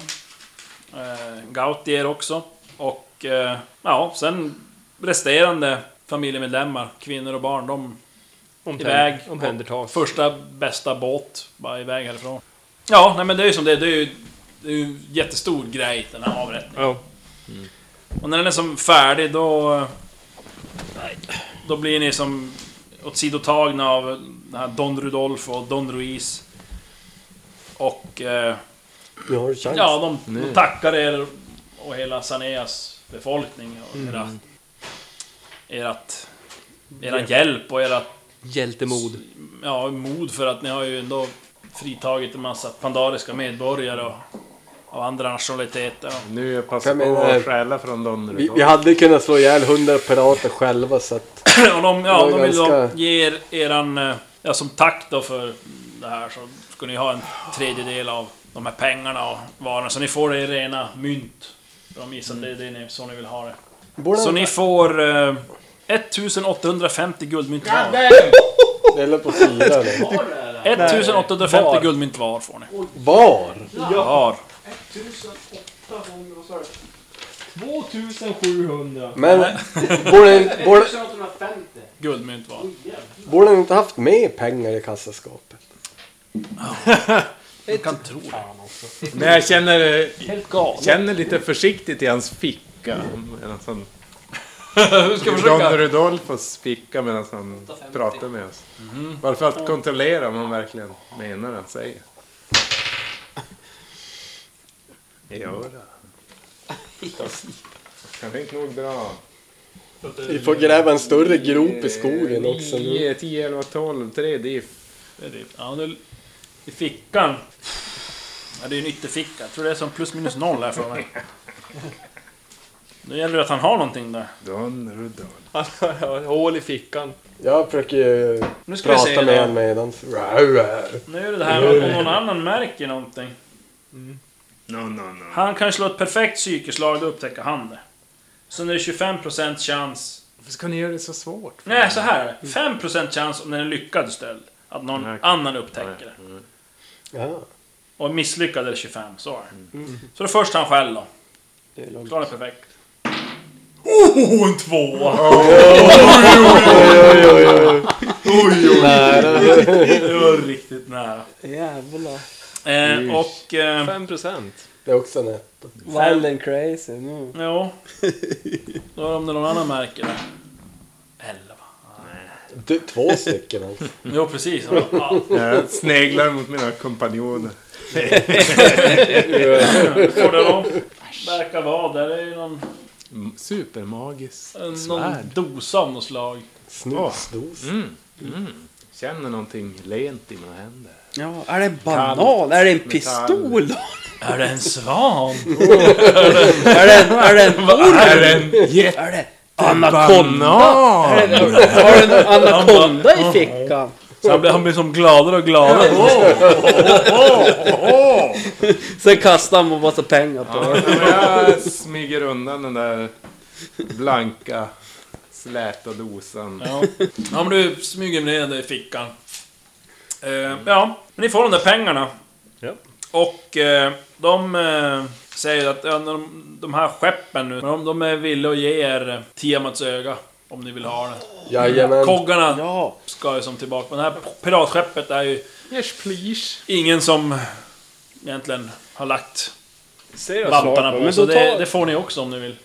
Speaker 2: Eh, Gautier också. Och eh, ja, sen resterande familjemedlemmar, kvinnor och barn, de
Speaker 3: om
Speaker 2: Iväg.
Speaker 3: Omhändertas.
Speaker 2: första bästa båt, bara iväg härifrån. Ja, nej men det är ju som det är. Det är ju, det är ju en jättestor grej, den här avrättningen.
Speaker 3: Ja.
Speaker 2: Och när den är som färdig då... Nej, Då blir ni som åtsidotagna av den här Don Rudolf och Don Ruiz. Och... Eh,
Speaker 5: Nu har du chans.
Speaker 2: ja, de, de tackar er och hela Saneas befolkning och era... Erat... Era hjälp och era
Speaker 3: Hjältemod.
Speaker 2: ja, mod för att ni har ju ändå fritagit en massa pandariska medborgare och av andra nationaliteter.
Speaker 4: Nu jag passar
Speaker 5: Jag
Speaker 4: på
Speaker 5: menar-
Speaker 4: att stjäla från Don
Speaker 5: eh, Vi,
Speaker 4: Rudolf.
Speaker 5: vi hade kunnat slå ihjäl hundra pirater själva så att...
Speaker 2: Och de, ja,
Speaker 5: Det var
Speaker 2: de vill då
Speaker 5: ganska-
Speaker 2: ge er eran... eh, Ja, som tack då för det här så ska ni ha en tredjedel av de här pengarna och varorna. Så ni får det i rena mynt. De gissar att det är det ni, så ni vill ha det. Så ni får... Eh, 1850 guldmynt var.
Speaker 5: Det höll på att fira nu.
Speaker 2: 1850 guldmynt var får ni.
Speaker 5: Var?
Speaker 2: Var.
Speaker 3: 2700.
Speaker 5: Men borde, borde,
Speaker 7: 1850.
Speaker 2: Guldmynt var.
Speaker 5: borde ni inte haft mer pengar i kassaskåpet?
Speaker 2: Jag kan tro det.
Speaker 4: Men jag känner, eh,
Speaker 2: Helt galet.
Speaker 4: känner lite försiktigt i hans ficka. Medan han,
Speaker 2: Du ska
Speaker 4: Don
Speaker 2: försöka.
Speaker 4: Rudolfos ficka medan han pratar med oss. Bara för att kontrollera om han verkligen menar det han säger. Jo då. Han fick nog bra.
Speaker 5: Vi får gräva en större grop i skogen också nu.
Speaker 4: 9, 10, 11, 12, 3 diff.
Speaker 2: Det är det. Ja, det, I fickan. Ja, det är ju en ytterficka. Jag tror det är som plus minus noll här för mig. Nu gäller det att han har någonting där.
Speaker 4: Don Rudolf.
Speaker 3: Han har hål i fickan.
Speaker 5: Jag försöker ju
Speaker 2: Nu ska vi se.
Speaker 5: prata med
Speaker 2: då.
Speaker 5: honom medans. Rau, rau.
Speaker 2: Nu är det det här med om någon annan märker någonting.
Speaker 4: Mm. No, no, no.
Speaker 2: Han kan slå ett perfekt psykeslag, då upptäcker han det. Sen är det 25% chans.
Speaker 4: Varför ska ni göra det så svårt? för
Speaker 2: Nej,
Speaker 4: mig?
Speaker 2: så här är det. 5% chans om den är lyckad istället. Att någon
Speaker 4: Mm. Nej.
Speaker 2: annan upptäcker det.
Speaker 5: Ja.
Speaker 2: Och misslyckad är det 25, så är det. Så det är först han själv då.
Speaker 7: Mm. Det är lugnt.
Speaker 2: Slår den perfekt. Oh, en tvåa! Det var riktigt nära.
Speaker 7: Jävlar.
Speaker 2: Eh, och... Eh,
Speaker 3: 5%.
Speaker 5: Det är också en etta.
Speaker 7: Wild and crazy. Nu.
Speaker 2: ja. Då är det om det är någon annan märker det. Elva.
Speaker 5: Du, två stycken alltså.
Speaker 2: Jo, precis. Ja, ja.
Speaker 4: Jag sneglar mot mina kompanjoner.
Speaker 2: Får det då? Verkar vara. Där är ju någon,
Speaker 4: M- Supermagiskt.
Speaker 2: en-
Speaker 4: Svärd.
Speaker 2: någon dosa av något slag.
Speaker 5: Snusdos.
Speaker 4: Känner någonting lent i mina händer.
Speaker 7: Ja, är det en banan? Är det en pistol? då?
Speaker 2: Är det en svan?
Speaker 7: Är det en, är det en orm?
Speaker 4: Är det en
Speaker 7: Är det anakonda?
Speaker 4: jättebanan?
Speaker 7: Är det- Har du en anakonda i fickan?
Speaker 2: Så han blir, han blir som gladare och gladare.
Speaker 7: Sen kastar han en massa pengar på
Speaker 4: Ja, men Jag smyger undan den där blanka släta dosan.
Speaker 2: Ja. ja, men du smyger ner det i fickan. Eh, ja, men ni får de där pengarna.
Speaker 3: Ja.
Speaker 2: Och eh, de eh, säger att ja, de, de här skeppen nu, de, de är villiga att ge er eh, Tiamats öga. Om ni vill ha det.
Speaker 5: Jajamän.
Speaker 2: Koggarna
Speaker 7: Ja,
Speaker 2: ska ju som tillbaka. Men det här piratskeppet är ju
Speaker 4: Yes please.
Speaker 2: ingen som egentligen har lagt
Speaker 3: Ser jag
Speaker 2: vantarna
Speaker 3: slag på.
Speaker 2: på.
Speaker 3: Men
Speaker 2: Så
Speaker 3: då
Speaker 2: det,
Speaker 3: tar...
Speaker 2: det får ni också om ni vill.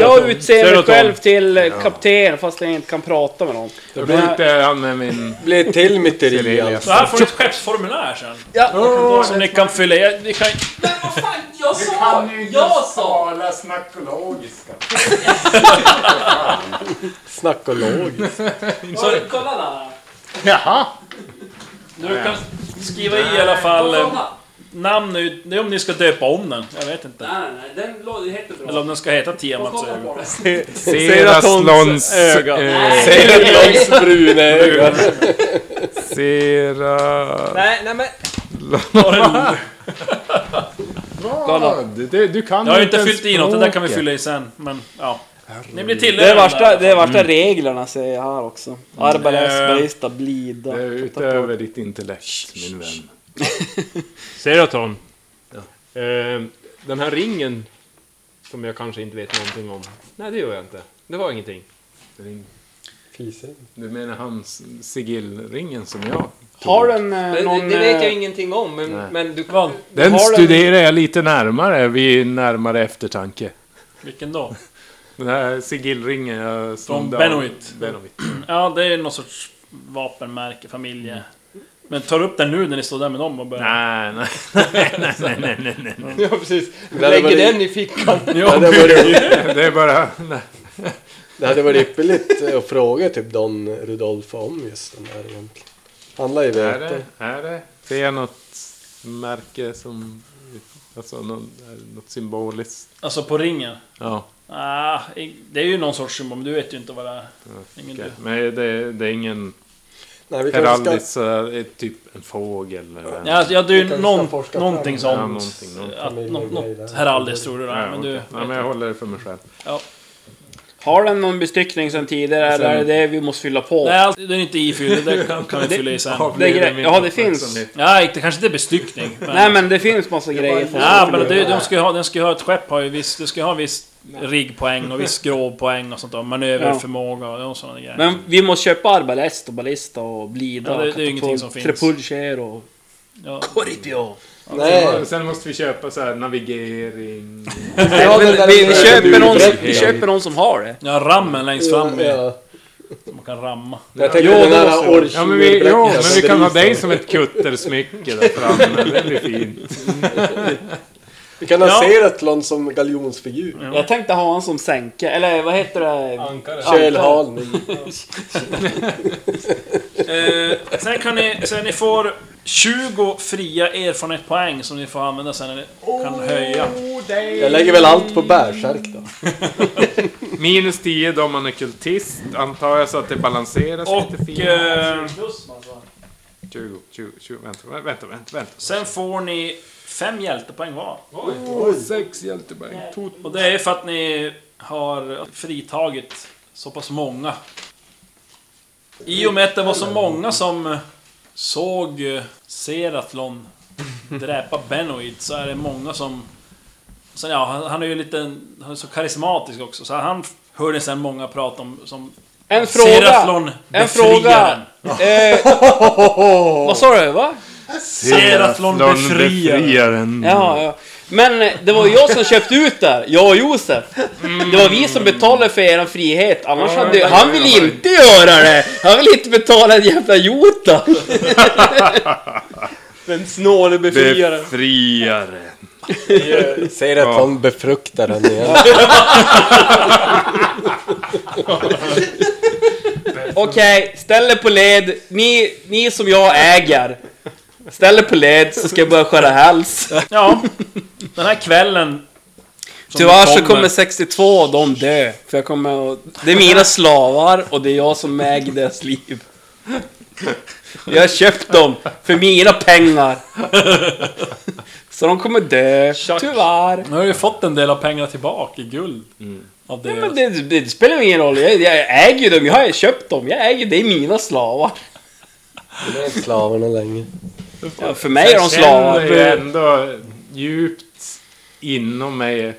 Speaker 7: jag utser
Speaker 3: Ser du
Speaker 7: mig
Speaker 3: att de-
Speaker 7: själv till eh, kapten fast jag inte kan prata med någon.
Speaker 4: Jag skjuter han med min...
Speaker 5: Blir till myteri
Speaker 4: Sibelius.
Speaker 5: alltså.
Speaker 2: Så här får ni ett skeppsformulär sen.
Speaker 7: Ja.
Speaker 2: som ni kan fylla i. Ni kan,
Speaker 8: Jag sa! Jag sa!
Speaker 5: Snackologiskt.
Speaker 2: så,
Speaker 8: Kolla där!
Speaker 2: du kan skriva i i alla fall... eh, Namn är ju- det är om ni ska döpa om den. Jag vet inte.
Speaker 8: Nej, nej, den låter jättebra.
Speaker 2: Eller om den ska heta Tiamats ögon.
Speaker 4: Seraslons
Speaker 3: öga.
Speaker 5: Seratlons bruna ögon.
Speaker 4: Sera...
Speaker 7: Nej, nej men.
Speaker 4: Vad? Du, du kan
Speaker 2: Jag har ju
Speaker 4: ens
Speaker 2: inte fyllt i något, det där kan vi
Speaker 4: språket.
Speaker 2: fylla i sen. Men ja. Ni blir
Speaker 7: Det är
Speaker 2: tilldelade
Speaker 7: värsta,
Speaker 2: den
Speaker 7: det är värsta reglerna säger jag här också. Arbalest, barista, blida.
Speaker 4: Det är utöver ditt intellekt, min vän.
Speaker 3: Seraton. Eh, den här ringen som jag kanske inte vet någonting om. Nej, det gör jag inte. Det var ingenting.
Speaker 4: Ring.
Speaker 5: Fiser.
Speaker 4: Du menar hans sigillringen som jag?
Speaker 7: Har den eh, någon... eh,
Speaker 3: ingenting om, men,
Speaker 4: Nej.
Speaker 3: du
Speaker 2: Vad?
Speaker 4: Den
Speaker 7: Har den-
Speaker 4: studerar jag lite närmare vid närmare eftertanke.
Speaker 2: Vilken då?
Speaker 4: Den här sigillringen eh, jag
Speaker 2: Från
Speaker 4: av-
Speaker 2: Benoit.
Speaker 4: Benoit.
Speaker 2: Ja, det är någon sorts vapenmärke, familje... Men tar du upp den nu när ni står där med dem och börjar...
Speaker 4: Nej, nej.
Speaker 3: Ja, precis.
Speaker 5: hade Lägger varit- den
Speaker 3: i fickan.
Speaker 5: Ja, det var det.
Speaker 4: Det är bara... Nej.
Speaker 5: Det hade varit ypperligt eh, att fråga typ Don Rudolfo om just den där egentligen. Han lär ju
Speaker 4: Är
Speaker 5: veta.
Speaker 4: det? Är det? Ser jag något märke som... Alltså någon, är det något symboliskt?
Speaker 2: Alltså på ringen?
Speaker 4: Ja.
Speaker 2: Ah, i- det är ju någon sorts symbol, men du vet ju inte vad det är. Ingen
Speaker 4: okej.
Speaker 2: du.
Speaker 4: Men det, det är ingen
Speaker 5: Nej, vi kanske ska...
Speaker 4: heraldisk, så det är typ en fågel eller en...
Speaker 2: Ja, alltså, ja, det är
Speaker 5: Vi
Speaker 2: ju
Speaker 5: kanske
Speaker 2: någon,
Speaker 5: ska forska
Speaker 2: någonting
Speaker 5: fram
Speaker 2: sånt.
Speaker 4: det. Ja, någonting, någonting.
Speaker 2: Att, något
Speaker 5: Familj-
Speaker 2: något heraldiskt tror du det är,
Speaker 4: Ja,
Speaker 2: men
Speaker 4: okej.
Speaker 2: du...
Speaker 4: Nej, men jag håller det för mig själv.
Speaker 2: Ja.
Speaker 7: Har den någon bestyckning sen tidigare eller är det det vi måste fylla på?
Speaker 2: Nej, alltså, det är inte ifylld, det kan, kan vi fylla i sen.
Speaker 7: Det är
Speaker 4: Blir
Speaker 7: gre-
Speaker 4: min
Speaker 7: ja, det finns.
Speaker 4: uppmärksamhet.
Speaker 2: Nej, det kanske inte är bestyckning. Men...
Speaker 7: Nej, men det finns massa grejer. För
Speaker 2: Ja, men det, de ska ju ha, den ska ju ha ett skepp, har ju viss, det ska ju ha viss riggpoäng och viss skrovpoäng och sånt där. Manöverförmåga och, och sådana grejer.
Speaker 7: Men vi måste köpa arbalest och ballista och blida
Speaker 2: Ja, det- det är
Speaker 7: och katapult,
Speaker 2: ingenting som finns.
Speaker 7: Trepulcher och...
Speaker 2: Ja.
Speaker 7: Corripio!
Speaker 5: Nej,
Speaker 4: Sen måste vi köpa så här navigering.
Speaker 5: Ja, det där
Speaker 7: vi,
Speaker 5: är
Speaker 7: vi,
Speaker 5: en
Speaker 7: köper någon,
Speaker 5: urberättning.
Speaker 7: vi köper någon som har det.
Speaker 2: Ja, rammen längst fram är,
Speaker 5: Ja,
Speaker 2: man kan ramma.
Speaker 5: jag tänkte
Speaker 4: Ja,
Speaker 5: den
Speaker 4: det
Speaker 5: här
Speaker 4: måste vi. ja, men vi, ja,
Speaker 5: orchidébläckan
Speaker 4: men
Speaker 5: som
Speaker 4: vi kan ha
Speaker 5: drivs
Speaker 4: dig
Speaker 5: av-
Speaker 4: som ett kuttersmycke där framme. Det blir fint.
Speaker 5: Vi kan ha
Speaker 2: Ja.
Speaker 5: Seratlon som galjonsfigur.
Speaker 7: Jag tänkte ha en som sänke, eller vad heter det?
Speaker 5: Kölhalning.
Speaker 2: Eh, sen kan ni, sen ni får 20 fria erfarenhetspoäng som ni får använda sen när ni kan höja.
Speaker 5: Jag lägger väl allt på bärsärk då.
Speaker 4: Minus 10 då om man är kultist, antar jag, så att det balanseras lite
Speaker 2: Och...
Speaker 4: fint.
Speaker 2: Eh,
Speaker 4: 20, 20, 20, vänta, vänta, vänta, vänta. vänta.
Speaker 2: sen får ni fem hjältepoäng var.
Speaker 4: Sex hjältepoäng.
Speaker 2: Och det är för att ni har fritagit så pass många. I och med att det var så många som såg eh, Seratlon dräpa Benoid så är det många som... Sen ja, han, han är ju lite... Han är så karismatisk också, så han hörde sen många prata om som...
Speaker 7: En fråga!
Speaker 2: Seratlon
Speaker 7: En fråga! Eh, vad sa du? Va?
Speaker 2: Seratlon befriaren!
Speaker 7: Ja, ja. Men eh, det var ju jag som köpte ut där, jag och Josef. Det var vi som betalade för er frihet, annars hade ju- Han vill inte göra det! Han vill inte betala en jävla jota! Den snåle befriaren.
Speaker 4: Befriaren.
Speaker 5: Seratlon befruktar den igen.
Speaker 7: Okej, ställ er på led. Ni, ni som jag äger. Ställ er på led så ska jag börja skära hals.
Speaker 2: Ja, den här kvällen... som
Speaker 7: Tyvärr så
Speaker 2: kommer-
Speaker 7: kommer 62 av dem dö. För jag kommer att, Det är mina slavar och det är jag som äger deras liv. Jag har köpt dem för mina pengar. Så de kommer dö, tyvärr.
Speaker 2: Nu har du ju fått en del av pengarna tillbaka i guld.
Speaker 7: Mm.
Speaker 2: Av det.
Speaker 7: Ja, men det, det spelar ingen roll, jag, jag äger ju dem, jag har köpt dem, jag äger, det är mina slavar.
Speaker 5: Det är slavarna länge.
Speaker 7: Ja, för mig är de
Speaker 4: Jag känner ju
Speaker 7: slavar.
Speaker 4: ändå djupt inom mig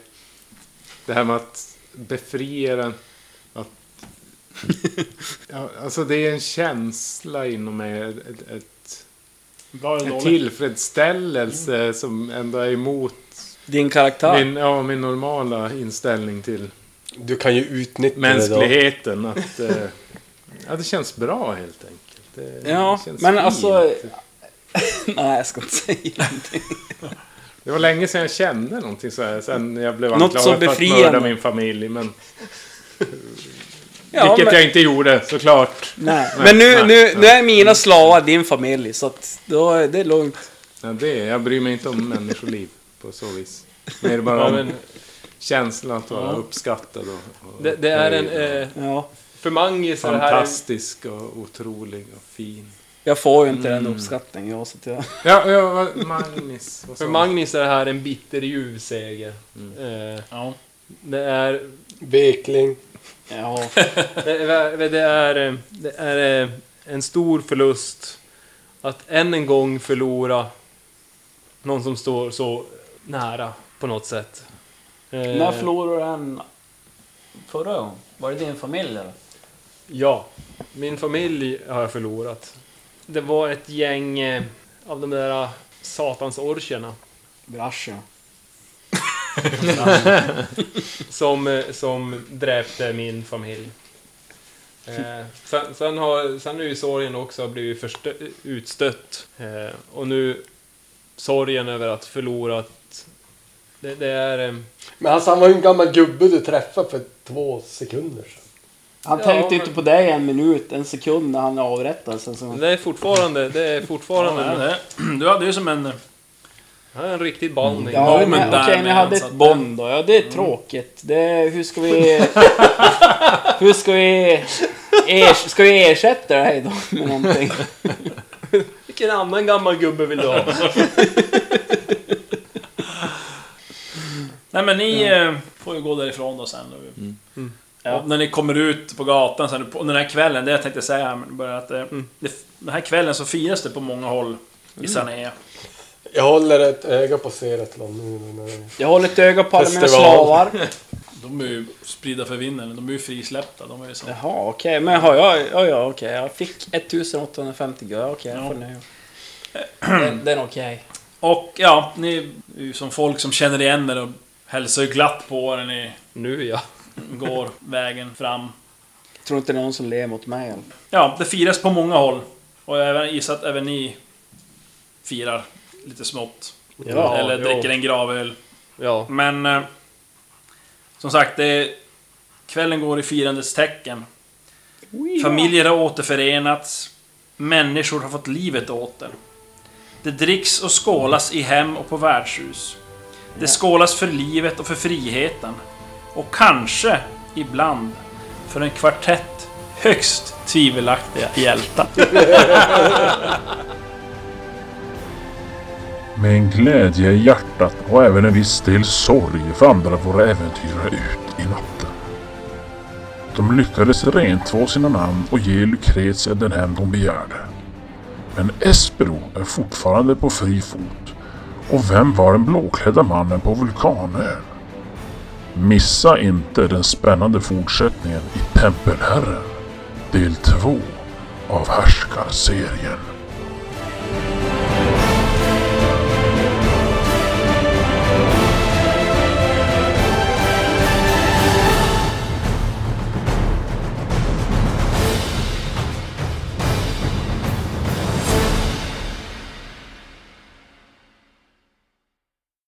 Speaker 4: det här med att befria den. Att, ja, alltså det är en känsla inom mig. Ett, ett,
Speaker 2: Bra eller
Speaker 4: en
Speaker 2: dåligt?
Speaker 4: tillfredsställelse
Speaker 7: Mm.
Speaker 4: som ändå är emot
Speaker 7: Din karaktär.
Speaker 4: min, ja, min normala inställning till
Speaker 5: Du kan ju utnyttja det
Speaker 4: mänskligheten. Att, eh, ja, det känns bra helt enkelt. Det
Speaker 7: Ja,
Speaker 4: känns
Speaker 7: men
Speaker 4: fint.
Speaker 7: alltså... Nej, jag ska inte säga någonting.
Speaker 4: Det var länge sedan jag kände någonting så här. Sen jag blev
Speaker 7: Något
Speaker 4: anklagad
Speaker 7: så
Speaker 4: för att
Speaker 7: befriande.
Speaker 4: mörda min familj. Men,
Speaker 7: Ja,
Speaker 4: vilket
Speaker 7: men,
Speaker 4: jag inte gjorde såklart.
Speaker 7: nej. men nu,
Speaker 4: nej,
Speaker 7: nu, nu är mina slavar din familj, så att då, är det är lugnt.
Speaker 4: Ja, det, jag bryr mig inte om människoliv på så vis. Mer bara
Speaker 3: Ja,
Speaker 4: om
Speaker 3: men,
Speaker 4: känslan att vara uppskattad och, och
Speaker 3: det, det är en... Eh,
Speaker 7: Ja,
Speaker 3: för Mangis är det här... en-
Speaker 4: fantastisk och otrolig och fin.
Speaker 7: jag får ju inte den uppskattningen jag, så att jag...
Speaker 4: Ja, ja vad- Magnus. Vad
Speaker 3: För
Speaker 4: sa
Speaker 3: Magnus är det här en bitter ljuv seger. Eh,
Speaker 2: Ja.
Speaker 3: det är...
Speaker 5: då. Vekling.
Speaker 7: Ja,
Speaker 3: Det är, det är, eh, det är eh, en stor förlust att än en gång förlora någon som står så nära på något sätt. Eh,
Speaker 8: När förlorade du en förra gången? Var det din familj eller?
Speaker 3: Ja, min familj har jag förlorat. Det var ett gäng eh, av de där eh, satans orcherna
Speaker 7: brascha.
Speaker 3: som, eh, som dräpte min familj. Eh, sen, sen, har, sen har ju sorgen också blivit förstö- utstött. Eh, och nu sorgen över att förlora... att- Det, det är... eh,
Speaker 5: Men alltså han var ju en gammal gubbe du träffade för två sekunder sedan.
Speaker 7: Han
Speaker 3: Ja,
Speaker 7: tänkte ju
Speaker 3: men-
Speaker 7: inte på dig en minut, en sekund när han avrättades. Sen så...
Speaker 3: Det är fortfarande, det är
Speaker 2: Ja,
Speaker 3: fortfarande
Speaker 2: det är
Speaker 3: en,
Speaker 2: det. Du hade ju som en...
Speaker 3: det är en riktig bonding.
Speaker 7: Ja,
Speaker 2: moment
Speaker 7: men
Speaker 2: där
Speaker 7: okej, ni
Speaker 2: med
Speaker 7: hade
Speaker 2: han
Speaker 7: ett
Speaker 2: satt
Speaker 7: bond då. Ja, det är tråkigt. Det, hur ska vi... hur ska vi... Er, ska vi ersätta det här då med någonting?
Speaker 3: Vilken annan gammal gubbe vill du ha?
Speaker 2: Nej men ni eh, får ju gå därifrån då sen. Och,
Speaker 7: Mm.
Speaker 2: Ja, när ni kommer ut på gatan sen, på den här kvällen, det jag tänkte säga här, men bara att eh,
Speaker 7: Mm.
Speaker 2: det, den här kvällen så firas det på många håll i Sané.
Speaker 5: Jag håller ett öga på Seratlan nu när jag
Speaker 7: Jag håller ett öga på alla mina
Speaker 5: Festival.
Speaker 7: slavar.
Speaker 2: De är ju spridda för vinden, de är ju frisläppta. De är ju så.
Speaker 7: Jaha, okej. Men har jag... Ja, ja, okej. Jag fick 1850 guld. Okej, jag får
Speaker 2: Ja.
Speaker 7: nöja mig. Den- Den är okej.
Speaker 2: Och ja, ni är ju som folk som känner igen er och hälsar ju glatt på er när ni
Speaker 3: Nu ja.
Speaker 2: går vägen fram.
Speaker 7: Tror inte det är någon som ler mot mig. eller?
Speaker 2: Ja, det firas på många håll. Och jag även- gissar att även ni firar lite smått.
Speaker 3: Ja,
Speaker 2: Eller
Speaker 3: jo.
Speaker 2: dricker en gravöl.
Speaker 3: Ja.
Speaker 2: Men... Eh, som sagt, det... Kvällen går i firandets tecken. Familjer har återförenats. Människor har fått livet åter. Det dricks och skålas i hem och på värdshus. Det skålas för livet och för friheten. Och kanske, ibland, för en kvartett högst tvivelaktiga hjältar.
Speaker 1: Med en glädje i hjärtat och även en viss del sorg vandrar våra äventyrare ut i natten. De lyckades rentvå sina namn och ge Lucretia den hem de begärde. Men Espero är fortfarande på fri fot. Och vem var den blåklädda mannen på Vulkanön? Missa inte den spännande fortsättningen i Tempelherren, del 2 av Härskarserien.